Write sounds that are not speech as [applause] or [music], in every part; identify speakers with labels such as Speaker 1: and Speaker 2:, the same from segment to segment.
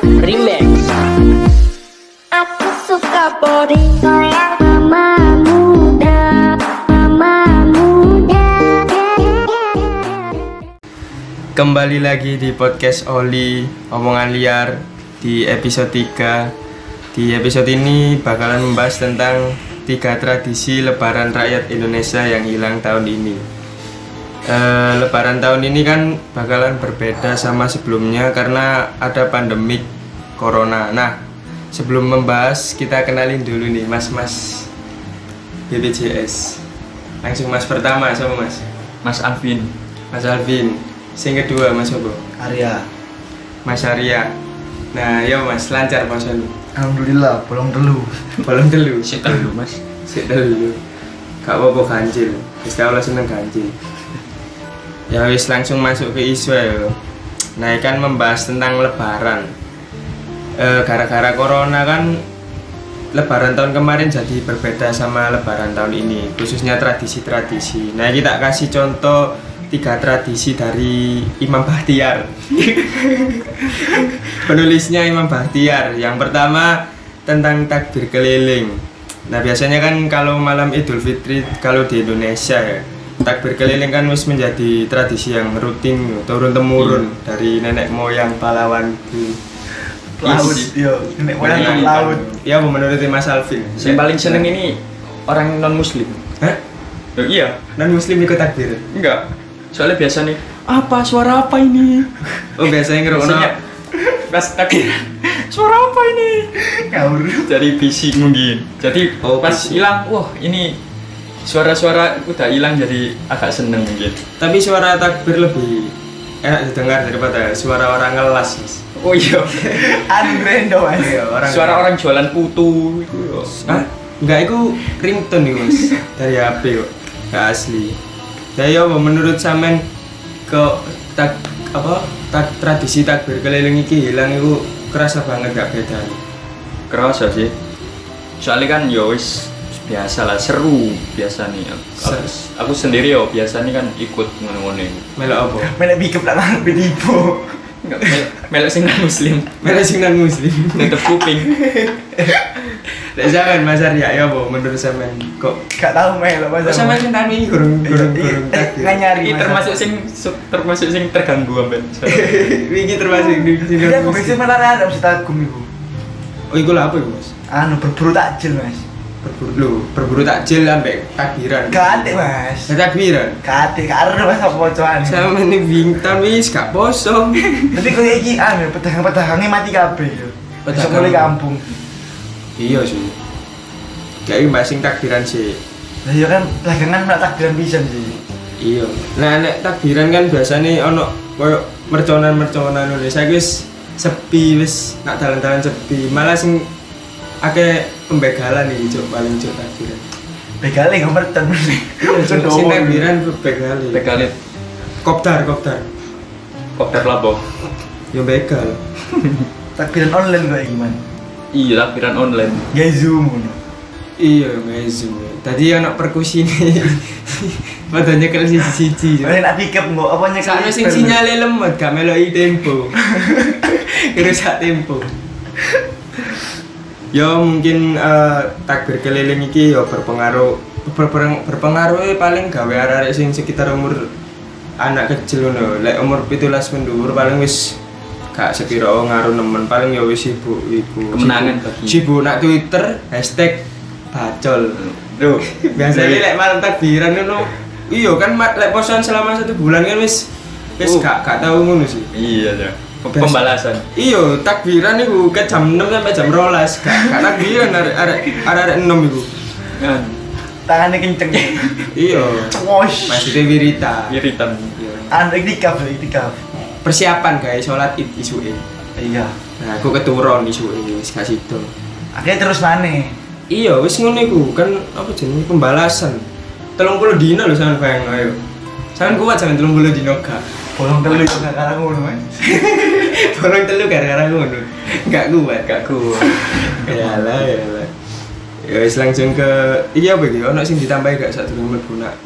Speaker 1: Remix
Speaker 2: Aku suka body goyang Mama muda Mama muda
Speaker 3: Kembali lagi di podcast Oli Omongan Liar di episode 3 Di episode ini bakalan membahas tentang tiga tradisi lebaran rakyat Indonesia yang hilang tahun ini Eh, Lebaran tahun ini kan bakalan berbeda sama sebelumnya karena ada pandemik Corona Nah sebelum membahas kita kenalin dulu nih mas-mas BPJS Langsung mas pertama sama mas
Speaker 4: Mas Alvin
Speaker 3: Mas Alvin Sing kedua mas Obo
Speaker 5: Arya
Speaker 3: Mas Arya. Nah, ya Mas, lancar [laughs] posan.
Speaker 5: Alhamdulillah bolong dulu
Speaker 3: Belum telu. Sik
Speaker 4: Cek dulu mas
Speaker 3: telu. Gak apa-apa ganjil. Wis tau lah seneng ganjil. Ya wis langsung masuk ke isu ya. Nah, ini kan membahas tentang lebaran. Eh, gara-gara corona kan lebaran tahun kemarin jadi berbeda sama lebaran tahun ini, khususnya tradisi-tradisi. Nah, kita kasih contoh tiga tradisi dari Imam Bahtiar. penulisnya Imam Bahtiar. Yang pertama tentang takbir keliling. Nah biasanya kan kalau malam Idul Fitri kalau di Indonesia ya takbir keliling kan wis menjadi tradisi yang rutin turun temurun
Speaker 4: Iya.
Speaker 3: dari nenek moyang pahlawan di
Speaker 5: laut
Speaker 3: Is-
Speaker 5: yo nenek moyang
Speaker 3: Iya,
Speaker 5: ke laut
Speaker 3: Ya menurut Mas Alvin. Iya.
Speaker 4: Yang paling seneng ini orang non muslim
Speaker 3: Hah?
Speaker 4: Loh, Iya
Speaker 3: Non muslim ikut takbir.
Speaker 4: Enggak Soalnya biasanya Apa suara apa ini
Speaker 3: Oh biasanya ngerokok.
Speaker 4: Biasanya Pas takbir [laughs] Suara apa ini
Speaker 5: ngawur
Speaker 4: Jadi bising mungkin Jadi
Speaker 3: Oh,
Speaker 4: pas
Speaker 3: bising.
Speaker 4: hilang Wah ini Suara-suara udah hilang jadi agak seneng gitu. mungkin
Speaker 3: Tapi suara takbir lebih enak didengar daripada suara orang ngelas. Mas.
Speaker 4: Oh iya
Speaker 5: anu grendo mas
Speaker 3: Iya,
Speaker 4: Suara orang jualan putu itu, yo.
Speaker 3: Hah? Enggak, itu ringtone nih mas Dari HP kok Enggak asli Ya yo, menurut sampean ke tak apa tak tradisi takbir keliling iki hilang itu kerasa banget gak beda
Speaker 4: kerasa sih ya, soalnya kan ya wis biasa lah seru biasa nih aku,
Speaker 3: Seru.
Speaker 4: aku sendiri yo biasa nih kan ikut ngono-ngono
Speaker 3: melok apa
Speaker 5: menek bikep tak nang bedipo
Speaker 4: Enggak, mel- melek sing non muslim
Speaker 3: melok sing nang muslim [laughs]
Speaker 4: nutup kuping
Speaker 3: lek sampean Mas Arya ya apa menurut sampean kok
Speaker 5: gak tau melok mas Eh,
Speaker 3: kok sampean ngenteni gurung gurung
Speaker 5: Iya,
Speaker 3: gurung
Speaker 5: nggak
Speaker 3: takbir
Speaker 5: nyari
Speaker 4: ini
Speaker 5: mas
Speaker 4: termasuk sing su- termasuk sing terganggu apa
Speaker 3: iki termasuk di sing
Speaker 5: jadi
Speaker 3: nang
Speaker 5: iya. aku biasanya
Speaker 3: muslim
Speaker 5: menarik ada bisa kagum ibu
Speaker 3: oh iku lho apa iku Mas
Speaker 5: anu berburu takjil mas
Speaker 3: berburu lho berburu takjil ambek takbiran
Speaker 5: gak ada mas
Speaker 3: Ya, takbiran
Speaker 5: gak ada gak ada mas apa coan
Speaker 3: sama nih bintang wis gak
Speaker 5: [laughs]
Speaker 3: poso
Speaker 5: nanti kalau iki anu pedagang-pedagangnya mati kabeh yo
Speaker 3: Pedagang.
Speaker 5: besok mulai kampung
Speaker 3: iya sih kayak mbak sing takbiran sih
Speaker 5: lah yo kan dagangan malah takjilan pisan sih
Speaker 3: iya nah nek takbiran kan biasanya ono koyo merconan merconan Indonesia wis sepi wis nak dalan-dalan sepi malah sing akeh pembegalan iki cok paling cok takbiran
Speaker 5: Begale gak merten.
Speaker 3: Iya, Cuk. sing takbiran pembegalan
Speaker 4: begalit
Speaker 3: kopdar kopdar
Speaker 4: kopdar labo
Speaker 3: yo begal
Speaker 5: Takbiran online kok iki man.
Speaker 4: iya takbiran online
Speaker 5: Ya Zoom ngono.
Speaker 3: iya mesu tadi ono perkusi [laughs] nih padha nyekel siji-siji Cuk.
Speaker 5: Wis nak pick up kok apa nyekel.
Speaker 3: Sakno sing
Speaker 5: bel.
Speaker 3: sinyale lemot gak meloki
Speaker 4: [laughs]
Speaker 3: tempo. Ngerusak tempo. Yo mungkin eh, takbir keliling iki yo berpengaruh berpengaruh, berpengaruh eh, paling gawe arek sing sekitar umur anak kecil ngono. Lek umur 17 mendur paling wis gak sekira ngaruh nemen paling yo wis sibuk iku. Sibuk-
Speaker 4: Kemenangan bagi-
Speaker 3: Sibuk nak Twitter hashtag bacol.
Speaker 4: Duh,
Speaker 3: Biasanya lek malam takbiran ngono. Iya kan mat- lek posan selama satu bulan kan wis wis
Speaker 4: Uh.
Speaker 3: gak gak tau ngono sih.
Speaker 4: iya ya pembalasan
Speaker 3: Iya, takbiran iku ke jam 6 sampai jam 12. Gak gak takbiran arek arek arek arek 6 iku.
Speaker 4: Nah,
Speaker 5: Tangannya kenceng.
Speaker 3: Iya.
Speaker 5: Wosh.
Speaker 3: Maksudnya wirita.
Speaker 4: iritan
Speaker 3: Iya.
Speaker 5: Anu iki kap iki kap.
Speaker 3: Persiapan guys, sholat id isuke.
Speaker 5: Iya.
Speaker 3: Nah, aku keturun isuke wis gak sido.
Speaker 5: Akhirnya terus mana?
Speaker 3: Iya, wis ngono iku kan apa jenenge pembalasan. 30 dino lho sampean bayang ayo. Sampean kuat sampean 30 dino gak. [laughs]
Speaker 5: Bolong telu yo gak karo ngono mas.
Speaker 3: Borong telu gara-gara ngono. Enggak kuat, enggak kuat. Yalah, yalah. Ya wis langsung ke iya apa iki? Ono sing ditambahi gak sadurunge mlebu nak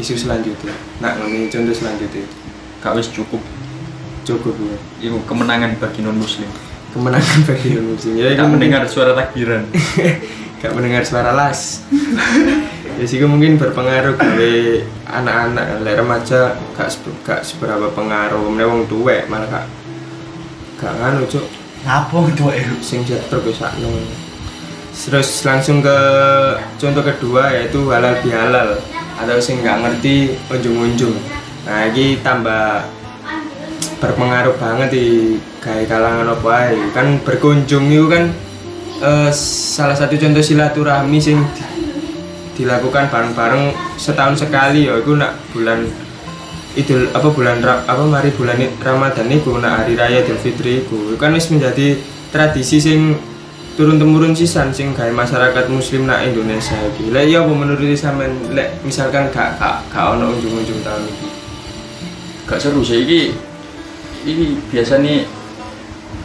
Speaker 3: isu selanjutnya. Nak ngene contoh selanjutnya.
Speaker 4: gak wis cukup
Speaker 3: Cukup ya.
Speaker 4: itu kemenangan bagi non muslim
Speaker 3: kemenangan [laughs] bagi muslim ya itu
Speaker 4: Gak
Speaker 3: mending
Speaker 4: mendengar suara takbiran
Speaker 3: [laughs] gak mendengar suara las [laughs] ya sih mungkin berpengaruh gawe anak-anak lek remaja gak sebe- gak seberapa pengaruh mene wong tuwek malah gak gak nganu cuk
Speaker 5: Ngapung tuh ya.
Speaker 3: sing jetruk wis sakno terus langsung ke contoh kedua yaitu halal bihalal atau sing nggak ngerti unjung-unjung nah ini tambah berpengaruh banget di gaya kalangan apa ae. kan berkunjung itu kan eh, salah satu contoh silaturahmi sing di- dilakukan bareng-bareng setahun sekali ya itu nak bulan Idul apa bulan Ra- apa mari bulan I- Ramadan iku nak hari raya Idul Fitri iku kan wis menjadi tradisi sing turun temurun sisan sing gawe masyarakat muslim nak Indonesia iki. Lek ya apa menurut sampean lek misalkan gak gak gak ono unjung-unjung tahun iki.
Speaker 4: [laughs] Gak seru sih iki Iki biasa nih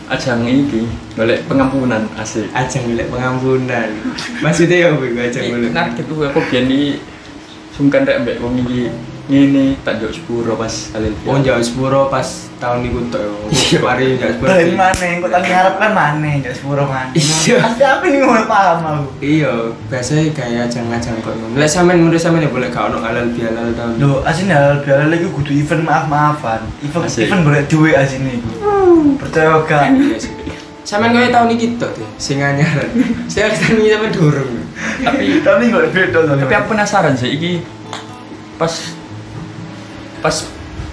Speaker 4: Ajang iki Balik pengampunan asik
Speaker 3: Ajang lek pengampunan. Maksudnya ya apa iku ajang
Speaker 4: Iki
Speaker 3: golek?
Speaker 4: Kaget tuh aku biar nih Sungkan rek mbak wong iki Ini tak jauh sepuro pas halil
Speaker 3: Oh jauh sepuro pas tahun iku tok yo. Mari jauh sepuro.
Speaker 5: Dari mana yang kau tanya harap kan mana yang jadi sepuro mana?
Speaker 3: Iya.
Speaker 5: Pasti apa nih mau paham aku?
Speaker 3: Iya, biasanya kayak ajang-ajang kok. Lek sampean menurut sampean ya boleh gak ono halal bihalal tahun.
Speaker 5: Lo asin hal biar lagi kudu event maaf maafan. Event
Speaker 4: Asik.
Speaker 5: event boleh duit asin iku. Percaya gak?
Speaker 3: [laughs] Sampean kowe tahun iki tok deh, sing anyaran. Saya harus tani sampean dorong.
Speaker 4: Tapi
Speaker 5: Tapi nggak beda soalnya.
Speaker 4: tapi aku penasaran sih iki pas pas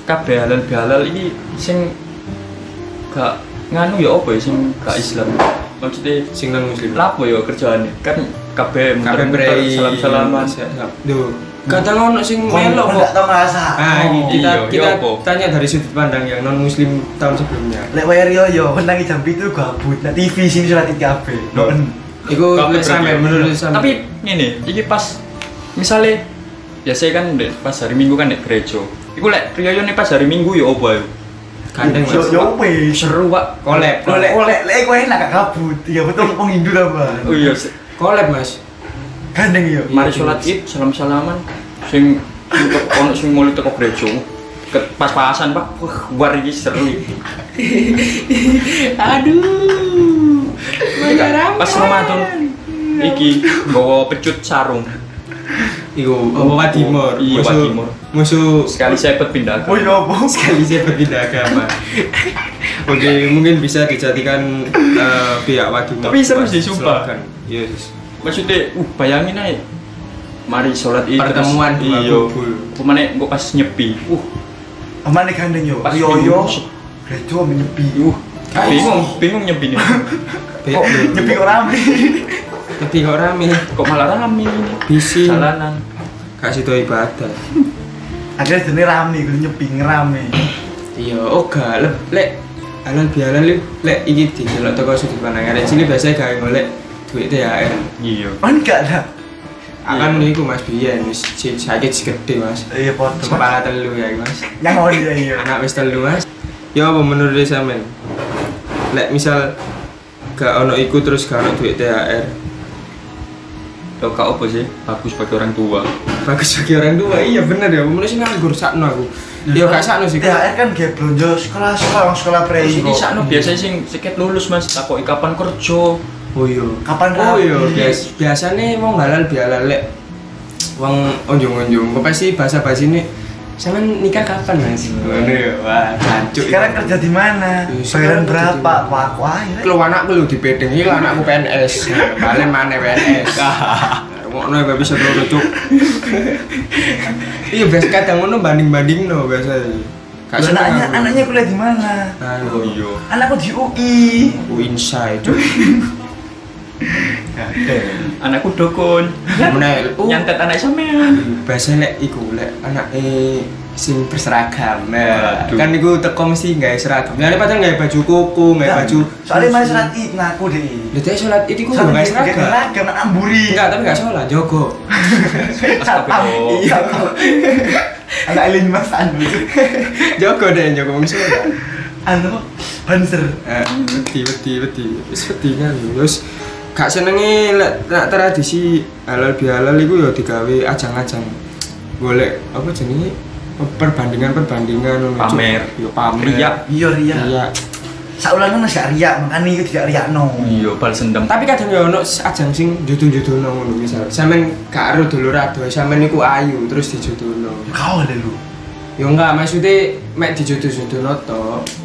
Speaker 4: kabeh halal bihalal iki sing gak nganu ya apa ya sing gak Islam maksudnya
Speaker 3: Sing non muslim.
Speaker 4: lapo ya kerjaannya kan
Speaker 3: Kabeh
Speaker 4: kabeh muter-muter,
Speaker 3: prei.
Speaker 4: salam-salaman
Speaker 3: Duh, kadang ono sing
Speaker 5: Kau-
Speaker 3: melo
Speaker 5: kau nggak
Speaker 3: kok.
Speaker 5: tau ngerasa.
Speaker 3: Ah,
Speaker 5: Oh.
Speaker 3: ini kita
Speaker 4: Iya,
Speaker 3: kita
Speaker 4: iya, apa?
Speaker 3: tanya dari sudut pandang yang non muslim tahun sebelumnya.
Speaker 5: Lek wayar yo yo, menangi jam itu gabut. Nah TV sini surat tiga B.
Speaker 3: Iku
Speaker 4: Kabeh
Speaker 3: lek sampean
Speaker 4: berarti.
Speaker 3: menurut sampean.
Speaker 4: tapi ini iki pas misalnya biasanya kan dek, pas hari minggu kan dek gereja iku lek riyoyo nih pas hari minggu ya apa ya
Speaker 3: gandeng
Speaker 5: yo
Speaker 3: Mas.
Speaker 5: yo wes.
Speaker 4: seru pak
Speaker 3: Kolab.
Speaker 5: Lo lek lek lek kau enak gak gabut. Iya betul wong Hindu lah
Speaker 4: oh
Speaker 5: bang.
Speaker 4: iya se-
Speaker 3: Collab, Mas.
Speaker 5: Gandeng yo.
Speaker 4: mari sholat id salam salaman iya. sing sing ke- ono sing mulai teko gereja ke pas pasan pak wah war iki seru iki.
Speaker 2: Aduh,
Speaker 4: pas Ramadan iki bawa pecut sarung
Speaker 3: Iku apa Timur?
Speaker 4: Iya, Wadimor.
Speaker 3: Musuh
Speaker 4: sekali saya pindah
Speaker 5: Oh
Speaker 4: ke
Speaker 5: yo bang.
Speaker 3: sekali saya berbeda agama. Oke, mungkin bisa dijadikan eh, pihak wakil.
Speaker 4: Tapi seru sih, sumpah.
Speaker 3: Silakan. Iya, sis.
Speaker 4: maksudnya uh bayangin aja mari sholat id terus-
Speaker 3: Pertemuan dua Oh,
Speaker 4: iya
Speaker 3: kubu.
Speaker 4: kemana gua pas nyepi uh
Speaker 5: Aman nih gandeng yo.
Speaker 4: Pas
Speaker 5: Yo yo.
Speaker 4: Hindu.
Speaker 5: Gereja menyepi.
Speaker 4: uh bingung bingung nyepi nih
Speaker 3: Be-
Speaker 4: Kok-
Speaker 5: Nyepi orang
Speaker 3: Tapi kok rame,
Speaker 4: kok malah rame ini
Speaker 3: Bising.
Speaker 4: jalanan
Speaker 3: kasih tau ibadah.
Speaker 5: Akhirnya jenis rame, gitu nyepi ngerame.
Speaker 3: Iya, oh gak lek lek halal bihalal lek lek iki dijelok teko sudut pandang arek cilik biasanya gawe golek duit THR.
Speaker 4: iya
Speaker 5: Kan gak ada.
Speaker 3: Akan niku Mas Biyen wis si- sakit si gede Iya. Mas.
Speaker 5: Iya foto.
Speaker 3: Kepala telu ya iki, Mas.
Speaker 5: Nyangon ya iya.
Speaker 3: anak wis telu mas ya apa menurut sampean lek misal gak ono iku terus gak ono duit THR
Speaker 4: lo kak apa sih bagus bagi orang tua
Speaker 3: bagus bagi orang tua iya bener ya menurut sih nganggur sakno aku
Speaker 5: Nah,
Speaker 3: ya gak sakno sih
Speaker 5: THR kan gak belanja sekolah sekolah orang sekolah pre.
Speaker 4: Terus ini sakno biasanya sing seket lulus mas takoki kapan kerja
Speaker 3: oh iya
Speaker 5: Kapan
Speaker 3: oh iya
Speaker 5: rapi?
Speaker 3: bias biasane wong halal bihalal lek wong onjong-onjong kok pasti bahasa bahasa ini sampean nikah kapan mas ya. ngono ya wah jancuk
Speaker 5: Sekarang kerja di mana?
Speaker 3: Iya,
Speaker 5: Bayaran
Speaker 3: sekarang
Speaker 5: berapa?
Speaker 3: kerja di
Speaker 5: Wah, aku akhirnya.
Speaker 3: Kalau anakku lu dipedeng iki anakku PNS. Balen mana PNS. Ngono ya bisa loro cuk. Iya biasa kadang ngono banding-bandingno biasa. Gak
Speaker 5: Loh,
Speaker 3: seneng
Speaker 5: Anaknya
Speaker 3: aku.
Speaker 5: anaknya kuliah di mana?
Speaker 3: Aduh, iya.
Speaker 5: Anakku di UI.
Speaker 3: Aku inside cuk.
Speaker 4: anakku dokun
Speaker 3: Menel. Oh,
Speaker 4: nyantet anak
Speaker 3: [laughs]
Speaker 4: sampean
Speaker 3: biasa lek iku lek anake sing berseragam. Nah,
Speaker 4: Waduh.
Speaker 3: kan iku teko mesti gawe seragam. Lah padahal gawe baju kuku, gawe
Speaker 5: Nah,
Speaker 3: baju.
Speaker 5: Soalnya masih surat id ngaku deh.
Speaker 3: Lha dia sholat itu ku gawe
Speaker 5: Sampai dia kayak
Speaker 3: seragam.
Speaker 5: seragam anak amburi.
Speaker 3: Enggak, tapi enggak sholat,
Speaker 5: [laughs]
Speaker 3: jogo.
Speaker 5: Satpam.
Speaker 4: Astagfirullah.
Speaker 5: Iya. Satpam. Anak Elin Mas Anu.
Speaker 3: Jogo deh, jogo wong sholat.
Speaker 5: Anu Banser.
Speaker 3: Eh, wedi wedi wedi wis wedi kan terus gak senenge lek lek tradisi halal bihalal iku ya digawe ajang-ajang golek apa jenenge perbandingan perbandingan
Speaker 4: Pamer.
Speaker 3: yo pamer
Speaker 4: Riak.
Speaker 5: Iya Ria.
Speaker 3: iya
Speaker 5: saulan kan gak riak, makanya itu tidak riak no.
Speaker 4: iya bal sendam
Speaker 3: tapi kadang ya ono ajang sing jodoh-jodohno ngono misal sampean gak ero dulur adoh sampean iku ayu terus dijodohno
Speaker 5: Kau ada lu.
Speaker 3: ya enggak maksudnya mek dijodoh-jodohno to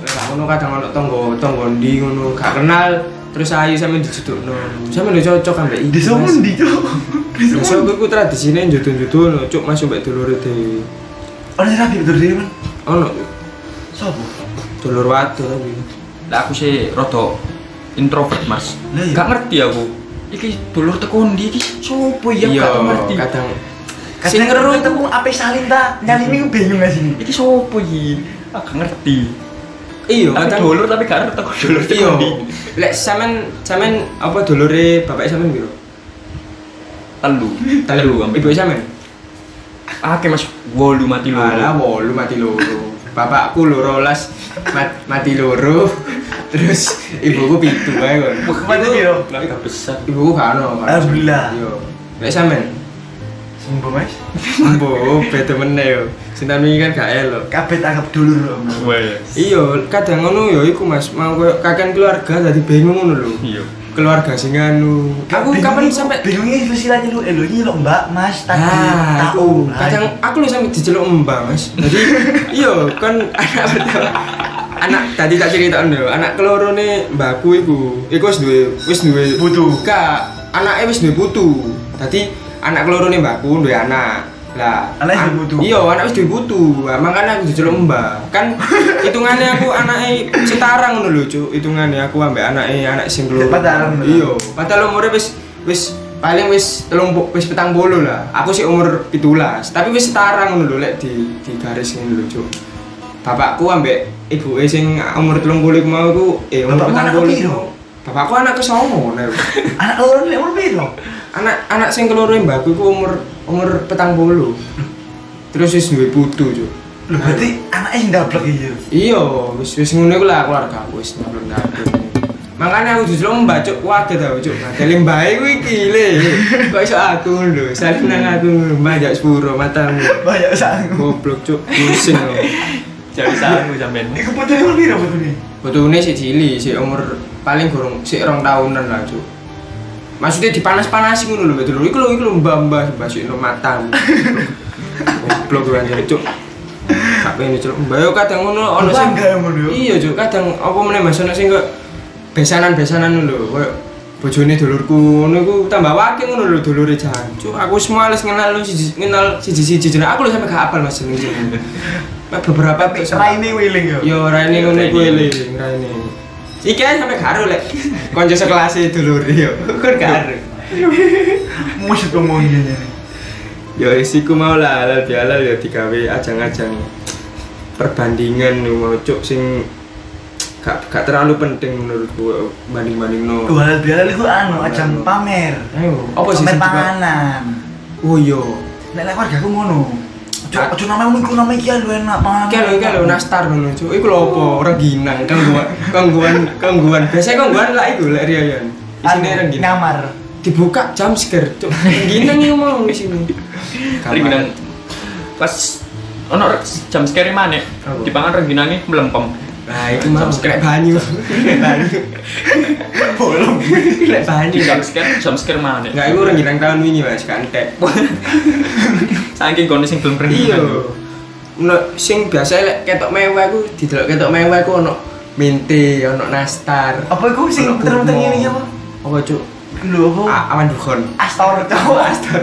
Speaker 3: lek ngono kadang ono tonggo tonggo ndi ngono gak kenal terus ayu sampean dijodohno sampean lho cocok ambek iki
Speaker 5: Di
Speaker 3: Mas.
Speaker 5: di cuk. Di
Speaker 3: Lah,
Speaker 5: somun.
Speaker 3: sopo iku tradisine jodoh-jodohno cuk masuk mek dulure dhewe
Speaker 5: Orang rapi betul dia man.
Speaker 3: ono
Speaker 5: Sopo?
Speaker 3: dulur waduh tapi
Speaker 4: lah aku sih roto introvert mas
Speaker 5: Lah, iya.
Speaker 4: gak ngerti aku iki dulur tekondi iki sopo ya
Speaker 3: iya
Speaker 4: Oh, gak ngerti
Speaker 3: kadang
Speaker 5: Sing ngeru itu pun apa salin ta? Nyali ini bingung gak sini.
Speaker 4: iki sopo iki aku gak ngerti
Speaker 3: iya
Speaker 4: tapi
Speaker 3: kadang
Speaker 4: dulur tapi gak ngerti aku dulur
Speaker 3: iya
Speaker 4: tekondi
Speaker 3: lek sampean sampean apa dulure bapak sampean piro
Speaker 4: telu
Speaker 3: telu
Speaker 4: ambil
Speaker 3: ibu sampean
Speaker 4: akeh mas wolu mati loro
Speaker 3: Malah wolu mati loro. Bapakku loro las mat- mati loro. [laughs] Terus ibuku pitu bae kon.
Speaker 5: Wah, mati piro?
Speaker 4: Lah, gak besar
Speaker 3: Ibuku gak ono. gak ono.
Speaker 5: Alhamdulillah.
Speaker 3: Yo. Nek sampean
Speaker 5: Sembuh mas.
Speaker 3: mbo beda meneh yo. Sinten wingi kan gak elok.
Speaker 5: Kabeh tangkap dulur. Om.
Speaker 4: Wes.
Speaker 3: Iya, kadang ngono yo iku Mas, mau koyo kakean keluarga dadi bingung ngono lho.
Speaker 4: iya
Speaker 3: Keluarga sing anu. Aku
Speaker 5: Bingung
Speaker 3: kapan
Speaker 5: iku,
Speaker 3: sampe
Speaker 5: bingungnya itu silanya lu Eh, elo ini lo mbak mas tadi
Speaker 3: Ah,
Speaker 5: tahu
Speaker 3: aku kadang aku lu sampe diceluk mbak mas. Jadi iya kan anak pertama anak tadi tak cerita lho, anak keloro nih mbakku iku. Iku wis duwe wis duwe
Speaker 5: Putu.
Speaker 3: Ka, anake wis duwe putu. Tadi anak keloro nih mbakku duwe anak. Lah,
Speaker 5: Anaknya
Speaker 3: an-
Speaker 5: duwe putu.
Speaker 3: Iya, anak wis duwe putu. Lah, makanya aku diceluk mbak. Kan hitungannya aku anake setara ngono lho, Cuk. Hitungannya aku ambek anake anak sing keloro.
Speaker 5: Padahal ngono.
Speaker 3: Iya, padahal umurnya wis wis paling wis telung pu- wis petang bolu lah aku sih umur pitulas tapi wis setara ngono lho lek di di garis ngono lho cuk bapakku ambek ibu sing umur telung puluh iku mau iku eh umur
Speaker 5: Bapakmu
Speaker 3: petang
Speaker 5: anak
Speaker 3: bolu
Speaker 5: kepiro?
Speaker 3: iku. bapakku anak ke songo nek
Speaker 5: anak orang lek mau biro
Speaker 3: anak anak sing keloro mbakku iku umur umur petang bolu terus wis duwe putu cuk
Speaker 5: lu berarti anaknya yang dablek gitu
Speaker 3: iya wis wis ngono iku lah keluarga aku wis nyablon nyablon makanya aku justru mbak cuk wadah tau cuk padahal mbak iku iki le kok iso aku lho saling nang aku mbak jak sepuro matamu
Speaker 5: banyak sangu
Speaker 3: goblok cuk pusing lho
Speaker 4: jadi sangu sampean
Speaker 5: Iku putune mau biro putune
Speaker 3: betulnya si cili si umur paling gorong si rong tahunan lah cuk maksudnya dipanas-panasin ngono lho betul iku lho iku lho mbak mbak mbak si no matamu goblok [laughs] gue anjir cuk gak pengen diceluk mbak yo kadang ngono ono sing
Speaker 5: Bangga yang ngono yo.
Speaker 3: iya cuk kadang apa meneh mas ono sing kok besanan-besanan lho koyo bojone dulurku ngono iku tambah wakil ngono lho dulure jan cuk aku wis males kenal lu siji kenal siji-siji jeneng aku lho sampe gak apal mas jeneng jeneng beberapa
Speaker 5: tapi
Speaker 3: beberapa-
Speaker 5: raine wiling yo
Speaker 3: Yo Raine ngono
Speaker 4: Raine.
Speaker 3: kuwi eling Raine. Iki ae sampe karo lek kanca sekelas e dulure yo. Kon karo.
Speaker 5: musuh ngomong gini
Speaker 3: Yo isiku mau lah halal bihalal yo digawe ajang-ajang perbandingan yo mau cuk sing gak gak terlalu penting menurutku eh, banding-bandingno.
Speaker 5: dua hal biar lu anu ajang pamer
Speaker 3: Ayo, Eh, apa sih
Speaker 5: pamer
Speaker 3: sing dibahas?
Speaker 5: panganan
Speaker 3: Oh yo.
Speaker 5: lek lek warga aku ngono
Speaker 3: Ah.
Speaker 5: Cuk, cuk namanya mungkin namanya kian lu enak panganan.
Speaker 3: Iki lho iki lho nastar ngono cuk. Iku lho apa rengginang gangguan gangguan gangguan. Biasanya gangguan lah iku lek riyan.
Speaker 5: Anu,
Speaker 3: Isine rengginang.
Speaker 5: Nyamar.
Speaker 3: dibuka jam scare cuk gini nih mau di sini
Speaker 4: rengginang pas ono jam scare mana
Speaker 3: Apa?
Speaker 4: di pangan rengginangnya melempem
Speaker 3: nah itu mau kena banyu kena banyu
Speaker 5: Bolong.
Speaker 3: kena banyu
Speaker 4: di jam scare jam scare mana
Speaker 3: nggak itu orang girang tahun ini mas kan tek
Speaker 5: Oh,
Speaker 4: saking kondisi belum
Speaker 3: iya
Speaker 4: rengginang
Speaker 3: no sing biasa lek ketok mewah aku di ketok mewah aku ono minti ono nastar
Speaker 5: Apa iku sing
Speaker 3: ono
Speaker 5: muter-muter
Speaker 3: kurma.
Speaker 5: ngene iki apa? Oh.
Speaker 3: apa cuk
Speaker 5: Lho apa?
Speaker 3: A- awan dukun
Speaker 5: Astor cowok Astor.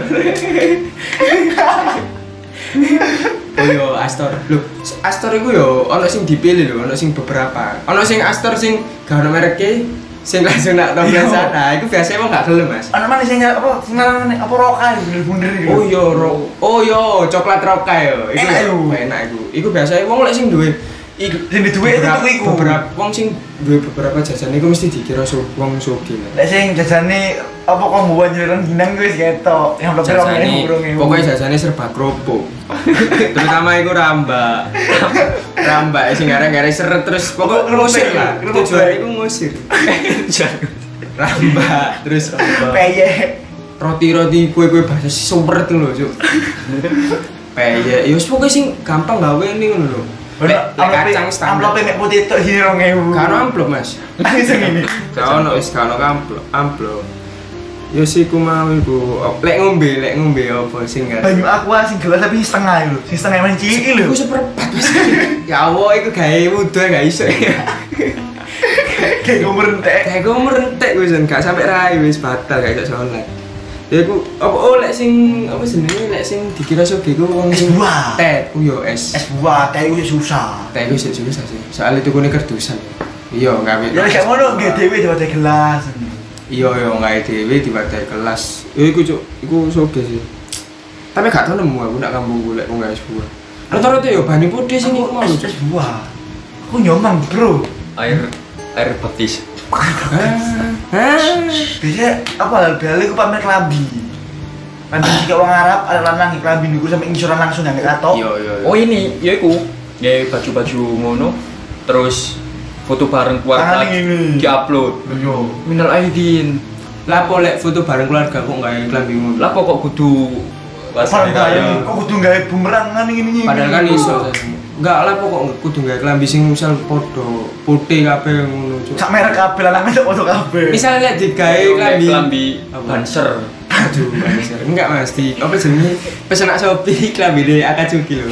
Speaker 3: Oh yo Astor. Lho, Astor iku yo ana sing dipilih lho, ana sing beberapa. Ana sing Astor sing gak ono mereke, sing langsung nak tau
Speaker 5: Iya.
Speaker 3: biasa. Nah, iku biasanya emang gak gelem, Mas.
Speaker 5: Anak mana sih nggak apa? Senang apa rokan bener-bener gitu.
Speaker 3: Oh yo ro. Oh yo coklat roka yo. Iku
Speaker 5: Enak iku.
Speaker 3: Enak iku. Iku biasanya wong lek sing duwe iku-
Speaker 5: Sing duwe itu
Speaker 3: beberapa-
Speaker 5: tuku iku.
Speaker 3: Beberapa wong sing duwe beberapa jajan iku mesti dikira su- wong sugih. lah.
Speaker 5: Lek sing jajane apa kok mbuan jaran ginang wis ketok. Yang blok rong
Speaker 3: Jajane,
Speaker 5: burung
Speaker 3: pokoknya jajane serba kerupuk terutama iku ramba ramba sing gara-gara seret terus pokok
Speaker 5: Kerupuk,
Speaker 3: ngusir lah
Speaker 5: kerupuk.
Speaker 3: tujuan iku ngusir ramba terus
Speaker 5: [laughs] peye.
Speaker 3: roti-roti kue-kue bahasa super tuh lho cuk peyek ya wis pokoknya sing gampang gawe ini ngono lho Lek- lek kacang standar.
Speaker 5: Amplope e- mek putih tok sini 2000. [laughs]
Speaker 3: Karo amplop mas.
Speaker 5: Langsung ini.
Speaker 3: Kau no is kau no amplop amplop. Yo sih ku mau ibu. Op- Lek ngombe lek ngombe apa sing gak?
Speaker 5: Banyu aqua sing gelas tapi setengah lho. Sing setengah emang cilik lho.
Speaker 3: Aku seperempat mas. [laughs] Ya Allah, itu gaya muda gak iso ya.
Speaker 5: Kayak gue merentek.
Speaker 3: Kayak gue merentek gue sen, gak sampai rai wis batal gak iso sholat. Ya aku apa oh lek sing apa jenenge lek sing dikira soge ku wong
Speaker 5: Es
Speaker 3: sing
Speaker 5: buah.
Speaker 3: Tet, ku yo es.
Speaker 5: Es buah, teh gue susah.
Speaker 3: Tet ku sik susah sih. Soale tuku kerdusan. Iya, gawe.
Speaker 5: Ya kayak ngono nggih dhewe coba teh gelas.
Speaker 3: Iya, iya gawe dhewe diwadai kelas. Ya iku cuk, iku soge sih. Tapi gak tau nemu aku nak kampung gue lek wong gawe es buah. Rata-rata yo banyu putih sing iku mau.
Speaker 5: Es es buah. Aku nyoman, Bro.
Speaker 4: air air betis
Speaker 3: Hah? Hah?
Speaker 5: Biasanya apa hal hal itu pamer kelabi. Kelabi sih kayak orang Arab, ada lanang yang kelabi dulu sampai insuran langsung yang nggak tau.
Speaker 3: Iya, iya. iya.
Speaker 4: oh ini ya iku ya baju-baju ngono terus foto bareng keluarga
Speaker 5: Tangan ini.
Speaker 4: diupload
Speaker 5: Iya.
Speaker 4: minal aidin
Speaker 3: Lah apa lek foto bareng keluarga kok gak yang klambi ngono?
Speaker 4: lah kok kok kudu
Speaker 5: Orang
Speaker 4: waspada
Speaker 5: kaya,
Speaker 4: ya
Speaker 5: kok kudu nggak bumerang kan ini ini.
Speaker 3: Padahal kan iso. Enggak lah pokok kudu gak klambi sing misal podo putih kabeh ngono cuk.
Speaker 5: Sak merek kabel, lanang itu foto kabel.
Speaker 3: Misal lek digawe klambi.
Speaker 4: kelambi
Speaker 3: Apa?
Speaker 4: banser
Speaker 3: Aduh, Banser. enggak Mas, di apa jenenge? Pesen nak Shopee klambine Akatsuki lho.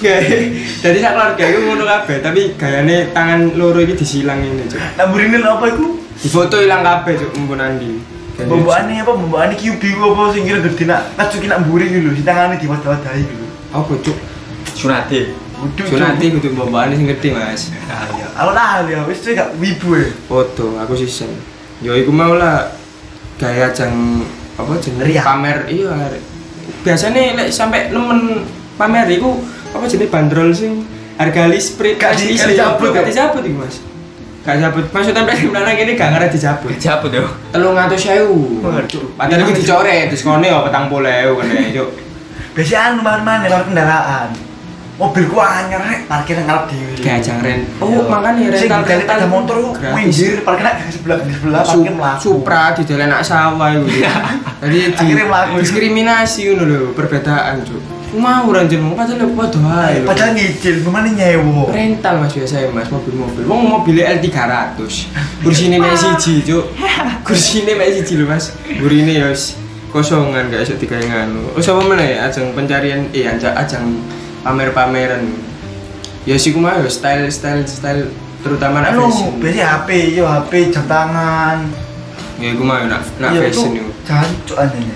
Speaker 3: Gawe. Dadi sak keluarga iku ngono kabeh, tapi gayane tangan loro iki disilang ngene cuk.
Speaker 5: Namburinin apa itu?
Speaker 3: Difoto ilang kabeh cuk mumpun Andi. Jadi,
Speaker 5: Bawaannya apa? Bawaannya QB gue apa? Sing kira gede nak Natsuki nak mburi dulu, si tangannya diwadah-wadahi dulu
Speaker 3: Apa cuk?
Speaker 4: sunate
Speaker 5: Waduh,
Speaker 3: Cuk nanti kudu mbok sing gede Mas.
Speaker 5: Aku lah ya, wis tuh gak wibu ya
Speaker 3: foto aku season yo iku mau lah gaya jang apa jenenge
Speaker 5: Riak.
Speaker 3: pamer iya biasanya lek sampai nemen pamer iku apa jenenge bandrol sing harga list sprit
Speaker 5: Gak di- gak dicabut,
Speaker 3: gak
Speaker 5: ya?
Speaker 3: dicabut iku mas gak dicabut maksudnya sampai di mana gini gak ngarep dicabut
Speaker 4: siapa [laughs] tuh
Speaker 3: telung atau sewu
Speaker 5: Waduh.
Speaker 3: padahal iku dicoret diskone ya petang puluh ewu kene yuk
Speaker 5: Biasanya anu mana-mana, lewat kendaraan Mobilku anyar, rek, parkir ngarep dhewe.
Speaker 3: gaya jang rent oh makanya
Speaker 5: Sing
Speaker 3: rental
Speaker 5: dari ada motor ku
Speaker 3: gratis
Speaker 5: minggir parkir nak di sebelah di sebelah
Speaker 3: Su-
Speaker 5: parkir melaku.
Speaker 3: Supra di dalam anak sawah itu. Jadi di,
Speaker 5: Iya. Akhirnya melaku.
Speaker 3: diskriminasi ngono lho, perbedaan, Cuk. Mau ora jeneng padahal padha ae. lho.
Speaker 5: Padahal ngicil, gimana nyewo?
Speaker 3: rental Mas biasa ya, Mas mobil-mobil. Wong mobilnya L300. Kursine mek siji, Cuk. Kursine mek siji lho, Mas. Burine ya wis kosongan gak iso digawe nganu. Wis apa meneh ya, ajang pencarian eh ajang, ajang pamer-pameran. Ya sih kumaha ya style style style terutama nak
Speaker 5: Anu,
Speaker 3: fashion.
Speaker 5: biasanya HP, yo HP jam tangan.
Speaker 3: Ya kumaha nak nak
Speaker 5: Iya,
Speaker 3: fashion
Speaker 5: itu
Speaker 3: iku.
Speaker 5: Jancuk anjene.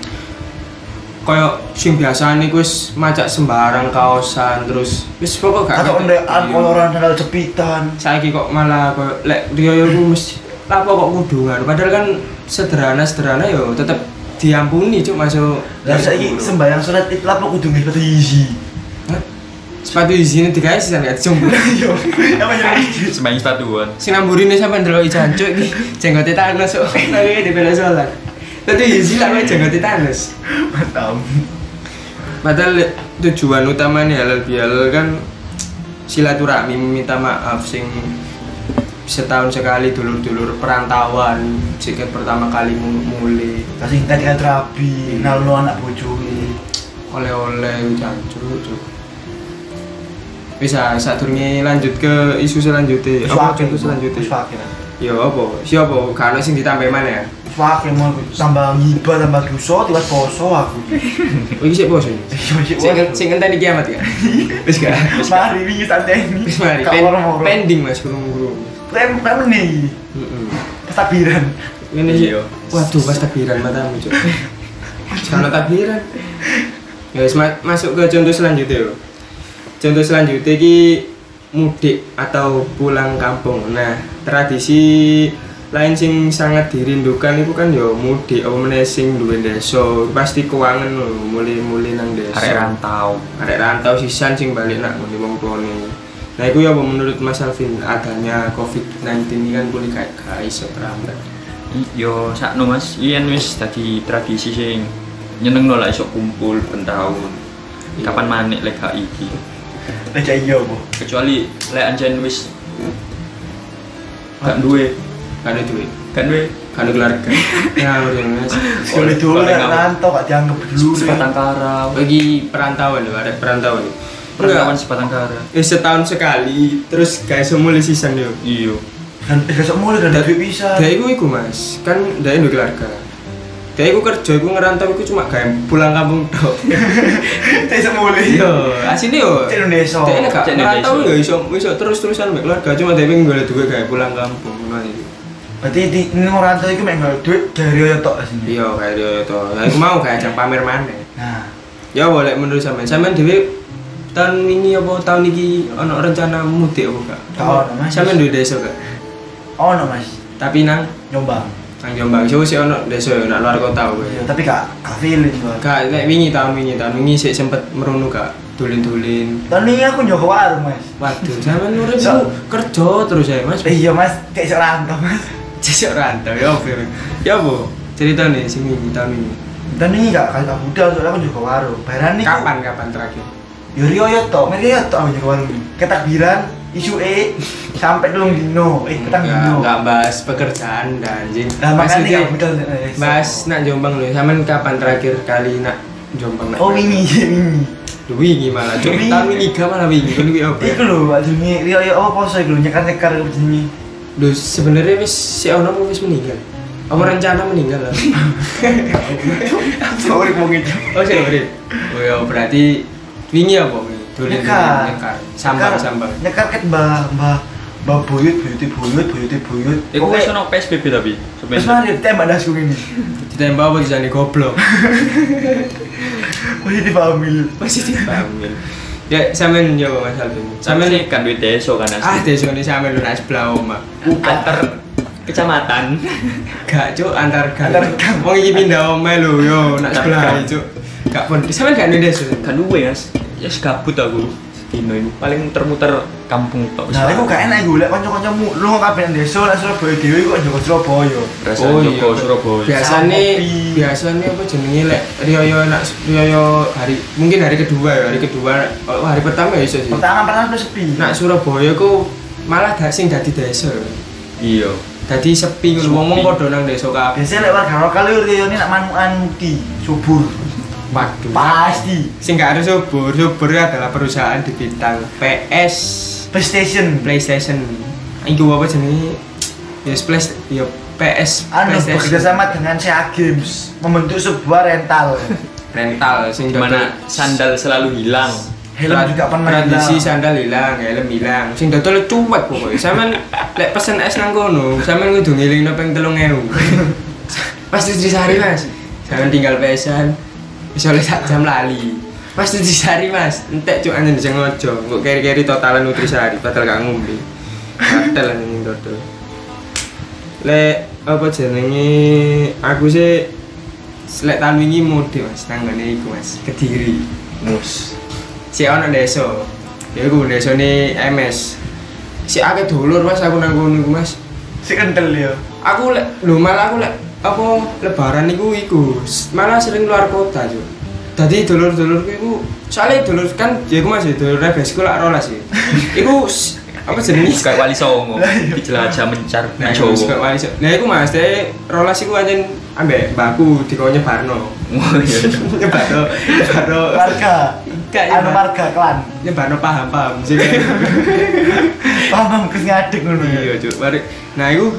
Speaker 3: kayak sing biasa nih wis macak sembarang kaosan terus wis pokok gak
Speaker 5: Atau
Speaker 3: ngerti.
Speaker 5: ondean
Speaker 3: Iya.
Speaker 5: koloran sandal jepitan.
Speaker 3: saiki kok malah kayak lek Rio yo ku mesti lah kok kudungan padahal kan sederhana-sederhana yo tetep diampuni cuk masuk
Speaker 5: Lah saiki sembayang surat itu lapo kudu nggih sepatu
Speaker 3: [laughs]
Speaker 5: isi.
Speaker 3: Hah? sepatu izine digawe sisan gak
Speaker 5: [laughs]
Speaker 3: dijumbo
Speaker 5: Yo, apa jadi?
Speaker 4: sebanyak sepatuan
Speaker 3: sing namburine sampe ndelok ijan cuk iki jenggote Thanos kok nangge di bela sholat tapi izin lah jenggote Thanos
Speaker 5: Mantap.
Speaker 3: Padahal tujuan utama nih halal bihalal kan silaturahmi minta maaf sing setahun sekali dulur-dulur perantauan jika pertama kali mu- mulai
Speaker 5: Kasih tadi kan terapi, nalno anak bojone.
Speaker 3: oleh-oleh jancuk cuk. bisa saat lanjut ke isu selanjutnya Ya, apa
Speaker 5: Suwake,
Speaker 3: contoh selanjutnya
Speaker 5: suwake. lah.
Speaker 3: ya apa siapa karena sing ditambah mana ya
Speaker 5: Suwake mau aku tambah ngibah tambah dosa tiba poso
Speaker 3: [laughs]
Speaker 5: aku.
Speaker 3: oh ini sih bos ini sing sing ngenteni kiamat ya wis gak wis gak?
Speaker 5: Mari wingi santai.
Speaker 3: wis mari
Speaker 5: Kak
Speaker 3: pen-
Speaker 5: loro-loro.
Speaker 3: pending mas burung-burung
Speaker 5: Tem tem nih.
Speaker 3: Heeh.
Speaker 5: Kestabilan.
Speaker 3: Ini sih.
Speaker 4: Iya.
Speaker 3: Waduh, pas takbiran matamu, Cuk. Kalau takbiran. Ya wis ma- masuk ke contoh selanjutnya. yo. Contoh selanjutnya ki mudik atau pulang kampung. Nah, tradisi lain sing sangat dirindukan itu kan yo mudik apa meneh sing duwe desa pasti keuangan lho mulai-mulai nang desa
Speaker 4: arek rantau
Speaker 3: arek rantau sisan sing balik nak ngene wong tuane. Nah, iku ya apa menurut Mas Alvin adanya COVID-19 ini kan boleh gak gak iso terhambat.
Speaker 4: I- yo sakno mas iyan wis dadi tradisi sing nyeneng lah iso kumpul pentahun
Speaker 3: Iya.
Speaker 4: kapan manik lek gak iki
Speaker 5: Aja iya bu.
Speaker 4: kecuali lek anjen wis gak duwe
Speaker 3: Gak ada duit.
Speaker 4: gak duwe
Speaker 3: Gak ada keluarga. Ya, udah mas.
Speaker 5: Sekali dulu
Speaker 4: Oleh-
Speaker 5: kan
Speaker 4: oleh-
Speaker 5: rantau gak dianggap dulu.
Speaker 4: sebatang karau
Speaker 3: Bagi perantauan loh, ada perantauan.
Speaker 4: perkawinan sebatang kara.
Speaker 3: Eh, setahun sekali terus guys semua season yo.
Speaker 4: Iya.
Speaker 5: Dan eh, besok mulai dan
Speaker 3: Da-
Speaker 5: duit
Speaker 3: [laughs]
Speaker 5: bisa. [laughs]
Speaker 3: Dia iku iku Mas, kan dia iku keluarga. Dia iku kerja iku ngerantau iku cuma gawe pulang kampung tok.
Speaker 5: Kita bisa mulai.
Speaker 3: Yo, asine yo.
Speaker 5: Cek Indonesia.
Speaker 3: Dia ini gak
Speaker 4: Cek
Speaker 3: ngerantau yo
Speaker 4: Indonesia.
Speaker 3: iso iso terus-terusan mbek keluarga cuma dia pengen golek duwe gawe pulang kampung ngono iku.
Speaker 5: Berarti di ini ngerantau itu main nggak duit dari oyo tok sini.
Speaker 3: Iya, kayak yo to. Lah, Aku mau kayak ajang pamer maneh.
Speaker 5: Nah,
Speaker 3: Ya boleh menurut sampean. Sampean dhewe tahun ini apa tahun iki ono rencana mudik apa gak?
Speaker 5: Gak ono, Mas.
Speaker 3: Sampean duwe desa gak?
Speaker 5: oh no mas,
Speaker 3: Tapi nang
Speaker 5: nyoba.
Speaker 3: nang Jombang sih sih ono desa yo nang luar kota kowe.
Speaker 5: Iya, Tapi gak gak feeling gua.
Speaker 3: Kak, nek wingi tahun wingi tahun wingi sik sempet merunu kak dulin-dulin.
Speaker 5: Tahun ini aku nyoba warung mas.
Speaker 3: Waduh, sampean urip
Speaker 5: Iya.
Speaker 3: ku kerja terus ya, Mas. [laughs]
Speaker 5: Eh, Iya mas, kayak serantau mas.
Speaker 3: Cesok rantau ya opo. Ya opo? Cerita nih sing wingi tahun wingi.
Speaker 5: Dan ini gak kayak aku udah soalnya aku nyoba warung. Bayaran nih.
Speaker 3: Kapan kapan terakhir?
Speaker 5: Yo Rio yo tok, mereka yo tok aku nyoba warung. ini. Ketakbiran, isu e sampai telung dino, eh petang
Speaker 3: Enggak,
Speaker 5: dino.
Speaker 3: enggak bahas pekerjaan dan anjing.
Speaker 5: Nah
Speaker 3: Maksudnya-
Speaker 5: makanya aku udah.
Speaker 3: Mas nak Jombang lho, sampean kapan terakhir kali nak Jombang nak?
Speaker 5: Oh [laughs] ini, ini.
Speaker 3: Lho, wingi malah. Jom,
Speaker 5: Wingi.
Speaker 3: tahun wingi gak malah wingi. Kon kuwi apa? ya?
Speaker 5: Iku lho, ajungi Rio yo apa poso iku lho nyekar-nyekar iku jenenge.
Speaker 3: Lho sebenarnya wis si ono apa wis meninggal. Apa
Speaker 5: Hmm.
Speaker 3: rencana meninggal
Speaker 5: [laughs]
Speaker 3: lah.
Speaker 5: Sorry mau gitu.
Speaker 3: Oh, sik urip. Oh ya berarti wingi apa wingi? Dolen
Speaker 5: Nyekar.
Speaker 3: nyekar. Sambang
Speaker 5: Nyekar-
Speaker 3: sambang.
Speaker 5: Nyekar ket mbah mbah mbah buyut buyut buyut buyut buyut.
Speaker 4: Iku wis ono PSBB tapi
Speaker 5: Wis
Speaker 4: sebenarnya.
Speaker 5: mari tembak dasku ini.
Speaker 3: Ditembak apa disani
Speaker 5: [laughs]
Speaker 3: goblok.
Speaker 5: Wis dipamil.
Speaker 3: Masih dipanggil. Ya sampean jawab Mas Alvin. Sampean
Speaker 4: Sampeyan kan duit desa kan asli.
Speaker 3: ah desone sampean lho nas belah omah.
Speaker 4: antar kecamatan. [laughs]
Speaker 3: Gak cuk antar gang.
Speaker 5: Antar gang.
Speaker 3: Wong iki pindah omah lho yo nak
Speaker 4: Antar
Speaker 3: sebelah
Speaker 4: gang.
Speaker 3: cuk. Gak pun. Sampean gak ndes. Cuk?
Speaker 4: Kan duwe Mas. Ya yes, gabut aku. Dino itu paling muter-muter kampung tok.
Speaker 5: Nah, aku gak enak gue, lek kanca-kancamu lu kok kabeh nang desa lek Surabaya dhewe kok njogo Surabaya.
Speaker 4: Perasaan
Speaker 3: Oh,
Speaker 4: Joko
Speaker 3: iya.
Speaker 4: Surabaya.
Speaker 3: Biasanya
Speaker 5: Sama kopi.
Speaker 3: biasanya apa jenenge lek riyoyo nak riyoyo hari mungkin hari kedua ya, hari kedua oh, hari pertama ya iso sih.
Speaker 5: Pertama pertama tuh sepi.
Speaker 3: Nak Surabaya ku malah gak sing dadi desa. ya.
Speaker 4: Iya.
Speaker 3: Dadi sepi ngono
Speaker 4: Sepi.
Speaker 3: ngomong padha nang desa kabeh.
Speaker 5: biasanya lek warga lokal yo Rio ya, ini nak manukan di subur.
Speaker 3: Waduh.
Speaker 5: Pasti.
Speaker 3: Sing gak harus subur, subur adalah perusahaan di bintang PS
Speaker 5: PlayStation.
Speaker 3: PlayStation. Iku apa jenenge? Ya Play- ya PS
Speaker 5: Anu bekerja sama dengan Sea Games membentuk sebuah rental.
Speaker 3: rental sing
Speaker 4: Dimana
Speaker 3: dodol-
Speaker 4: sandal selalu hilang.
Speaker 5: Helm
Speaker 3: Tra-
Speaker 5: juga pernah
Speaker 3: tradisi
Speaker 5: hilang.
Speaker 3: sandal hilang helm hilang sing dodol cuek pokoknya sampean [laughs] lek pesen es nang kono sampean kudu ngelingno ping 3000 [laughs] pas tujuh sehari mas sampean tinggal pesan wis oleh sak jam lali pas tujuh sehari mas entek cuk anjen sing ngojo kok keri-keri totalan nutrisari padahal gak ngombe padahal anjen dodol lek apa jenenge aku sih lek tahun wingi mode mas tanggane iku mas kediri
Speaker 5: Terus.
Speaker 3: si ono desa ya aku desa ini MS si akeh dulur mas aku nang kono iku, mas
Speaker 5: Si ya. kental yo.
Speaker 3: aku lek lho malah aku lek apa lebaran iku iku s- malah sering luar kota yo dadi dulur-dulur iku soalnya dulur kan ya aku masih dulur rebesku lak rolas ya iku s- apa jenenge
Speaker 4: Kayak wali songo. Dijelajah mencar
Speaker 3: Nah,
Speaker 4: nang
Speaker 3: iku
Speaker 4: Jawa.
Speaker 3: suka
Speaker 4: [laughs]
Speaker 3: wali so- nah, iku mas, deh rolas iku anjen ambek mbakku dikono nyebarno.
Speaker 4: Wah, iya.
Speaker 3: Nyebarno, nyebarno.
Speaker 5: Warga.
Speaker 3: Gak, ya,
Speaker 5: Anu
Speaker 3: Mas.
Speaker 5: warga klan.
Speaker 3: Nyebarno paham-paham sih.
Speaker 5: Paham paham kes ngadeg ngono. ya.
Speaker 3: iya cuk mari nah itu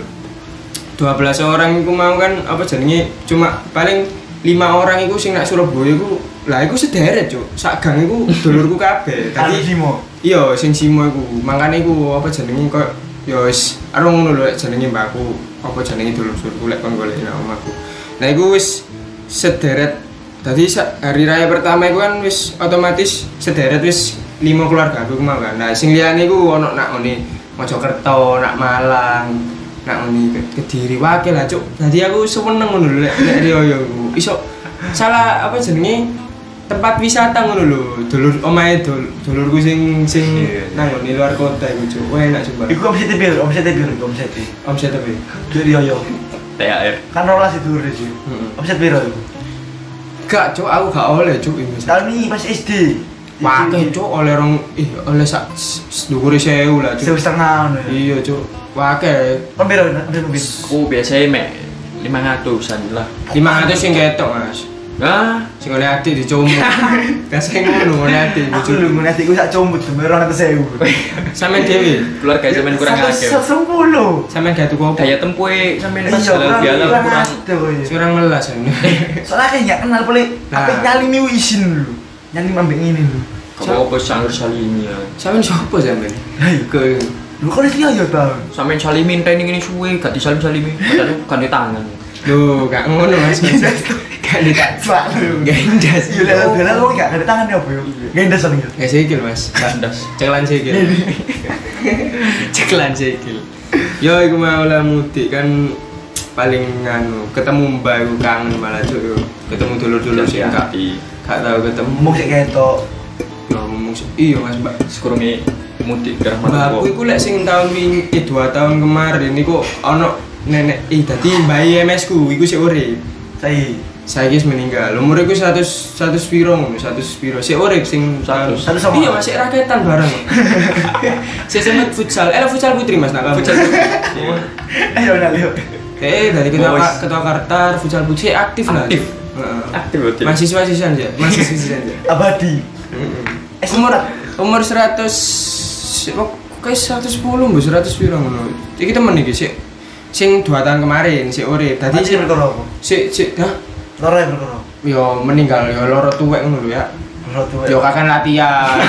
Speaker 3: 12 orang iku mau kan apa jenenge cuma paling lima orang iku sing nak Surabaya iku lah iku sederet cuk sak gang iku dulurku kabeh
Speaker 5: Kalau
Speaker 3: tadi
Speaker 5: Simo.
Speaker 3: iya sing simo iku makane iku apa jenenge kok ya wis arung ngono lho lek jenenge mbakku apa jenenge dulur-dulurku lek kon golek nang omahku nah iku wis sederet tadi sa- hari raya pertama iku kan wis otomatis sederet wis lima keluarga aku mau kan nah sing liyane iku ono nak ngene Mojokerto nak Malang nak ngene Ke- Kediri wakil lah cuk dadi aku seneng ngono lho lek lek riyo iku iso salah apa jenenge tempat wisata ngono lho, dulur omahe dul, dulurku sing sing
Speaker 4: Iya, iya.
Speaker 3: nang ngene luar kota iku cuk. Wah enak sumpah.
Speaker 5: Iku omset biru, omset biru, iku omset biru.
Speaker 3: Omset apa? ya?
Speaker 5: Jadi yo yo.
Speaker 4: THR.
Speaker 5: Kan rolas itu udah sih.
Speaker 3: Mm-mm.
Speaker 5: Omset biru. iku.
Speaker 3: Gak cuk, aku gak oleh cuk ini.
Speaker 5: Tahun ini pas SD.
Speaker 3: Wakil cuk oleh rong ih oleh sak s- s- dhuwure 1000 lah
Speaker 5: Sewu
Speaker 3: cuk.
Speaker 5: setengah ngono. ya.
Speaker 3: Iya cuk. Wakil
Speaker 5: Kon biru, ambil mobil.
Speaker 4: Aku biasanya mek 500-an lah.
Speaker 3: 500 sing ketok Mas.
Speaker 4: Nah,
Speaker 3: Sing ngene adik [laughs] dicomot. Biasane ngono ngene adik
Speaker 5: Aku lho
Speaker 3: dicomot.
Speaker 5: ngene adikku sak combut jember 2000.
Speaker 3: Sampeyan dhewe,
Speaker 4: keluarga sampean kurang akeh.
Speaker 5: 110.
Speaker 3: sampeyan gak tuku apa?
Speaker 4: Daya tempuhe sampean pas
Speaker 5: Iya,
Speaker 4: halal
Speaker 5: kurang
Speaker 4: bihalal
Speaker 5: kurang
Speaker 4: kurang.
Speaker 5: aduh, ya.
Speaker 3: Curang melas [laughs] ini.
Speaker 5: Soalnya kayak nggak kenal boleh.
Speaker 3: Nah.
Speaker 5: Tapi nyali nih izin dulu. Nyali mambing ini dulu.
Speaker 4: Kok apa sangger salimian?
Speaker 3: Sampeyan sapa sampeyan?
Speaker 5: Hei,
Speaker 3: Ke
Speaker 5: lu kok ya, ini aja tau?
Speaker 4: Sampean salimin tening ini suwe, gak disalim salimin. Padahal ganti tangan.
Speaker 3: lho gak ngono Mas. Gak ditak.
Speaker 5: Selalu.
Speaker 3: Gak indas.
Speaker 5: Iya, lihat bela lu nggak ada tangan ya, Bu. Nggak ada soalnya.
Speaker 3: Ya sikil Mas. Gak
Speaker 4: Kandas.
Speaker 3: Ceklan sikil. [laughs] Ceklan sikil. Yo iku mau lah mudik kan paling anu ketemu mbak iku kangen malah cuk yo. Ketemu dulur-dulur sing gak gak tau ketemu.
Speaker 5: Mau cek ketok.
Speaker 3: Yo ngomong sih, iya Mas Mbak.
Speaker 4: Sekurungi mudik ke rahmat
Speaker 3: Mbak aku iku lek sing tahun wingi eh, dua tahun kemarin iku ono nenek eh dadi mbak MS ku iku sik urip.
Speaker 5: Saya
Speaker 3: Saiki wis meninggal. Umur iku 100 100 piro ngono, 100 piro. Sik urip sing tahun.
Speaker 5: Satu sama.
Speaker 3: Iya, masih raketan
Speaker 5: [laughs]
Speaker 3: bareng. Sik semet futsal. Eh futsal putri Mas nak kamu.
Speaker 4: Pucat.
Speaker 5: [laughs]
Speaker 4: Iya.
Speaker 5: Ayo nak lihat.
Speaker 3: Eh dari ketua
Speaker 4: Boys.
Speaker 3: ketua Kartar futsal putri aktif lah.
Speaker 4: Aktif.
Speaker 3: Heeh.
Speaker 4: Aktif berarti.
Speaker 3: Mahasiswa sisan
Speaker 5: [laughs]
Speaker 3: ya, mahasiswa sisan ya.
Speaker 5: Abadi. Eh,
Speaker 3: umur
Speaker 5: sekolah.
Speaker 3: umur 100 wak- kayak 110 mbak 100 piro ngono. Iki temen iki sik sing 2 tahun kemarin sik urip. Dadi
Speaker 5: Tadi sih berkoro apa?
Speaker 3: sik sik hah?
Speaker 5: Loro ya berkoro.
Speaker 3: Yo meninggal yo loro tuwek ngono lho ya.
Speaker 5: Loro tuh.
Speaker 3: Yo kakan latihan.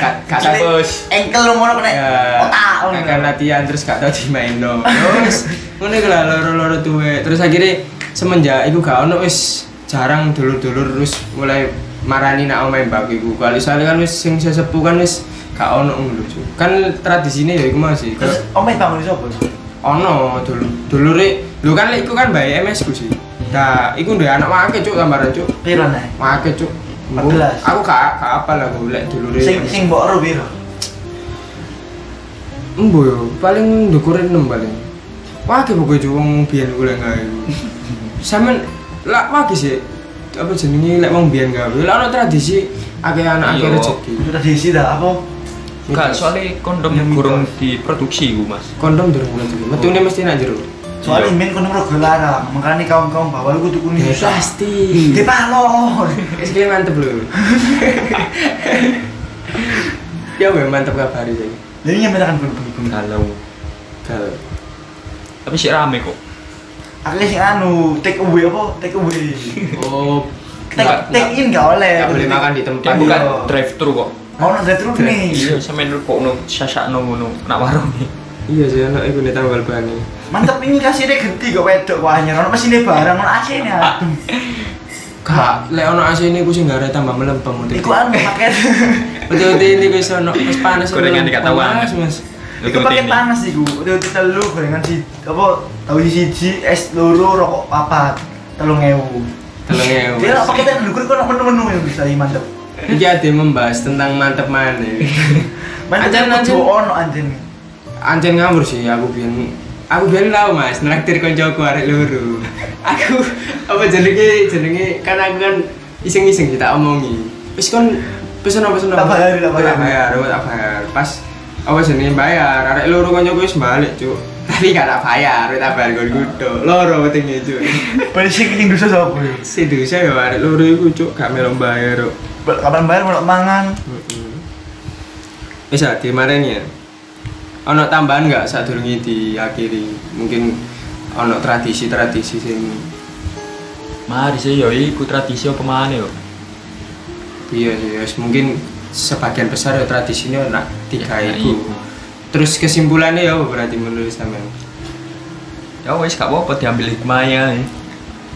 Speaker 3: Ka- Gak tau
Speaker 4: bos.
Speaker 5: Engkel lu mau kena
Speaker 3: Ya,
Speaker 5: otak. lu.
Speaker 3: kakak latihan terus gak tau dimainno. Terus ngono iku lah loro-loro tuwe. Terus akhirnya semenjak iku gak ono wis jarang dulur-dulur terus mulai marani nak omahe mbak iku. Kalau soalnya kan wis sing sesepuh kan wis gak ono ngono Cuk. Kan tradisine ya iku masih.
Speaker 5: Terus omeh bangun sopo?
Speaker 3: Ono dulur dulure lho kan lek iku kan bae MS ku sih. Nah, iku ndek anak wake cuk gambaran cuk.
Speaker 5: Piro nae?
Speaker 3: Wake cuk.
Speaker 5: 14.
Speaker 3: Aku gak gak apal aku lek dulure.
Speaker 5: Sing sing mbok ero piro?
Speaker 3: Embo yo, paling ndukur 6 paling. Wage pokoke jo wong biyen kula gawe. Sampeyan lak wage sih apa jenenge lek wong biyen gawe. Lak ono tradisi akeh anak akeh
Speaker 4: Iya.
Speaker 3: rezeki.
Speaker 5: Sudah diisi dah apa?
Speaker 4: Enggak, soalnya kondom
Speaker 5: Ya, mitos.
Speaker 4: gurung diproduksi gue mas.
Speaker 3: Kondom durung bulan dulu. Metune mesti nak jero.
Speaker 5: Soalnya
Speaker 4: Iya.
Speaker 5: min kono mergo larang, makane kaum-kaum bawah lu kudu kudu
Speaker 3: Ya,
Speaker 5: susah.
Speaker 3: Pasti.
Speaker 5: Di palon.
Speaker 3: Wis kene mantep lho. Ya weh mantep kabari saiki.
Speaker 5: Jadi nyemenakan kudu-kudu.
Speaker 4: Kalau
Speaker 3: Gal.
Speaker 4: tapi sih rame kok.
Speaker 5: Akhirnya sing anu take away apa? Take away.
Speaker 3: Oh,
Speaker 5: Take,
Speaker 3: nggak-
Speaker 5: take in gak oleh.
Speaker 3: nggak boleh makan di
Speaker 4: Dia
Speaker 3: tempat.
Speaker 5: Iya.
Speaker 4: bukan drive thru kok.
Speaker 5: Oh, nang drive nih.
Speaker 4: Iya, sampe lu kok no sasak no ngono nak warung nih.
Speaker 3: Iya sih anak iku nek tanggal bani.
Speaker 5: Mantep ini kasirnya gede kok wedok kok anyar. Ono mesine barang ono AC-ne.
Speaker 3: Ah.
Speaker 5: aduh.
Speaker 3: Kak, lek ono AC ini ku sing gara tambah melempem untuk
Speaker 5: Iku anu
Speaker 3: [laughs]
Speaker 5: paket.
Speaker 3: Udah-udah ini wis ono wis panas.
Speaker 4: Gorengan
Speaker 3: belum?
Speaker 4: gak tauan.
Speaker 3: Panas, Mas.
Speaker 5: Iku paket panas iku. Udah udah telu gorengan si apa tahu siji es loro rokok papat.
Speaker 4: Iya,
Speaker 5: 3000.
Speaker 3: Telung
Speaker 5: Dia
Speaker 3: ewu.
Speaker 5: lah paketnya ndukur kok ono menu-menu yang bisa iya, mantep.
Speaker 3: Iki ade membahas tentang mantep mana.
Speaker 5: [laughs]
Speaker 3: Anjen,
Speaker 5: Mantep
Speaker 3: anjen.
Speaker 5: kudu ono anjen.
Speaker 3: Anjen ngawur sih aku biyen. Aku biyen tau Mas, nraktir koncoku arek loro. Aku apa jenenge jenenge kan aku kan iseng-iseng kita omongi. Wis kon pesen apa pesen apa?
Speaker 5: Tak bayar, tak bayar.
Speaker 3: Tak bayar, oh, tak bayar. Pas apa jenenge bayar, arek loro koncoku wis balik, Cuk. [laughs] Tapi gak tak bayar, tak bayar kon kudu. Loro pentingnya, Cuk.
Speaker 5: Bali sing ning dosa sapa yo?
Speaker 3: Si Indonesia ya arek loro iku cuk gak melu bayar kok.
Speaker 5: Kapan bayar mau mangan?
Speaker 4: Iya.
Speaker 3: Wis ah dimaren ya. Ono tambahan enggak sadurunge diakhiri? Mungkin ono tradisi-tradisi sing
Speaker 4: Mari sih yo iku tradisi apa mana yo.
Speaker 3: iya sih wis mungkin sebagian besar ya tradisinya nak tiga
Speaker 4: Ya,
Speaker 3: iku.
Speaker 4: iya.
Speaker 3: Terus kesimpulannya ya apa berarti menurut sampean?
Speaker 4: Ya wis gak apa-apa diambil hikmahnya. ya.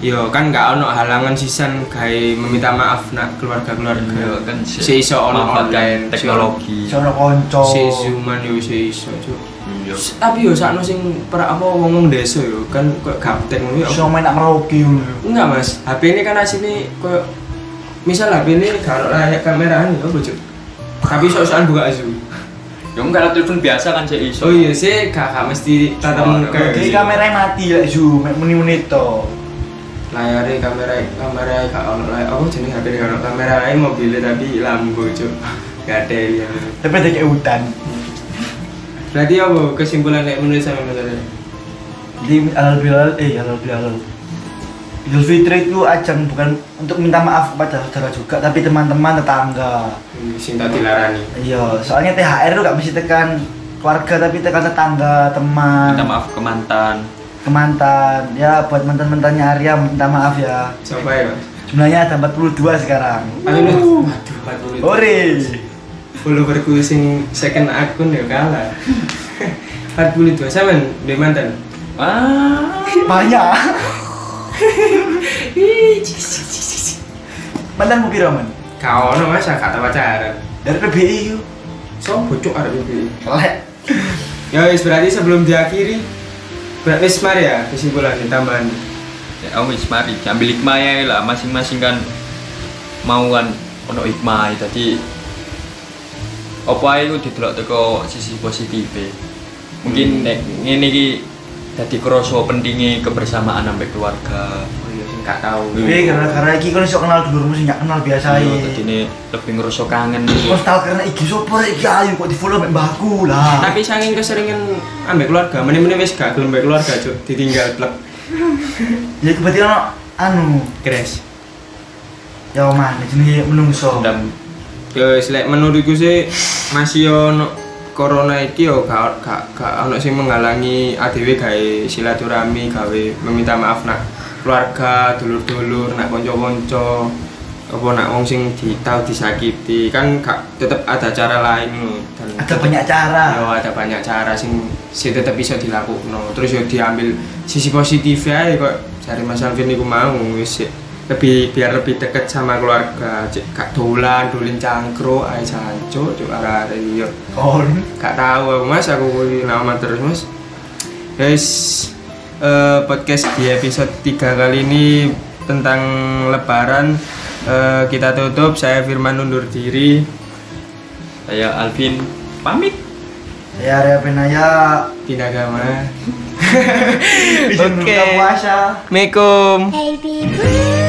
Speaker 3: Yo kan gak ono halangan sisan gawe meminta maaf nak keluarga-keluarga.
Speaker 4: Iya, kan si-
Speaker 3: si iso ono
Speaker 4: Manfaatkan
Speaker 3: online
Speaker 4: teknologi.
Speaker 5: Sono konco.
Speaker 3: Si Zuman yo si iso cuk.
Speaker 4: Iya.
Speaker 3: S- tapi yo sakno sing per apa ngomong desa yo kan kok gaptek ngono yo
Speaker 5: Iso main nak ngeroki ngono.
Speaker 3: enggak mas HP ini kan asine koyo misal HP ini kalau layak kameraan yo bojo tapi sok-sokan buka zoom
Speaker 4: Ya enggak lah telepon biasa kan sih iso.
Speaker 3: oh iya sih gak gak mesti tatap
Speaker 4: Suara,
Speaker 3: muka
Speaker 4: Oke.
Speaker 5: Jadi kameranya mati lek zoom, mek muni-muni to.
Speaker 3: layarnya kamera kamera gak ono layar oh jenenge HP ini gak ono kamera ini mobilnya tapi lambo cuk gak ada yang
Speaker 5: Tapi ada kayak hutan.
Speaker 3: berarti apa kesimpulan nek menurut sampean menurut
Speaker 5: Jadi halal bihalal, eh halal bihalal. Idul Fitri itu ajang bukan untuk minta maaf kepada saudara juga, tapi teman-teman tetangga.
Speaker 3: Sinta dilarani.
Speaker 5: Iya, soalnya THR itu gak mesti tekan keluarga tapi tekan tetangga, teman,
Speaker 4: minta maaf ke mantan
Speaker 5: kemantan. Ya buat mantan-mantannya Arya minta maaf ya.
Speaker 3: Siapa ya? Mas?
Speaker 5: Jumlahnya ada 42 sekarang.
Speaker 3: Paling lu- Waduh, empat
Speaker 5: Oh,
Speaker 3: puluh.
Speaker 5: Ore.
Speaker 3: Followerku sing second akun ya kalah. [laughs] 42 sama di mantan.
Speaker 4: ah
Speaker 5: Banyak. Mantanmu piro, Man?
Speaker 3: Kau no masa kata pacaran.
Speaker 5: Dari PBI yuk.
Speaker 3: So bocok arep iki.
Speaker 5: Lek.
Speaker 3: Ya wis berarti sebelum diakhiri berarti wis mari ya kesimpulan nih, tambahan.
Speaker 4: ya om wis mari ambil hikmahnya lah masing-masing kan mau kan ono hikmah jadi apa ae ku didelok teko sisi positif e. mungkin nek ngene iki dadi kroso pentingnya kebersamaan sampai keluarga
Speaker 3: Oh iya sing gak tau.
Speaker 5: Tapi gara-gara iki kan iso kenal dulurmu sing gak kenal biasa
Speaker 4: Iya,
Speaker 5: iki.
Speaker 4: tadi ini lebih ngerasa kangen
Speaker 5: Kok tahu karena iki sopo iki ayu kok di-follow mek mbahku lah.
Speaker 3: Tapi saking keseringan ambek keluarga, meni-meni wis gak gelem ambek keluarga, Cuk. Ditinggal plek
Speaker 5: Ya kebetulan ono anu
Speaker 3: crash.
Speaker 5: Ya man, jenenge menungso.
Speaker 4: dan
Speaker 3: Ya wis lek menurutku sih masih ono corona iki yo gak gak gak ono sing menghalangi adewe gawe silaturahmi, gawe meminta maaf nak keluarga, dulur-dulur, nak kanca-kanca apa nak wong sing ditau disakiti kan gak tetep ada cara lain lho. dan
Speaker 5: Ada
Speaker 3: tetep-
Speaker 5: banyak cara.
Speaker 3: yo
Speaker 4: Iya.
Speaker 3: ada banyak cara sing sing tetep iso dilakukno terus yo diambil sisi positif ae kok cari Mas Alvin niku mau wis sik. lebih biar lebih deket sama keluarga cek gak dolan dolin cangkruk ae jancuk cuk arek yo
Speaker 5: Kon.
Speaker 3: gak tahu aku mas aku kuwi lama terus mas guys eh, podcast di episode 3 kali ini tentang lebaran Eh, kita tutup saya Firman undur diri
Speaker 4: saya Alvin pamit
Speaker 5: Ya Area Penaya.
Speaker 3: Pinagama
Speaker 5: Izin buka puasa.
Speaker 3: Assalamualaikum
Speaker 2: Happy birthday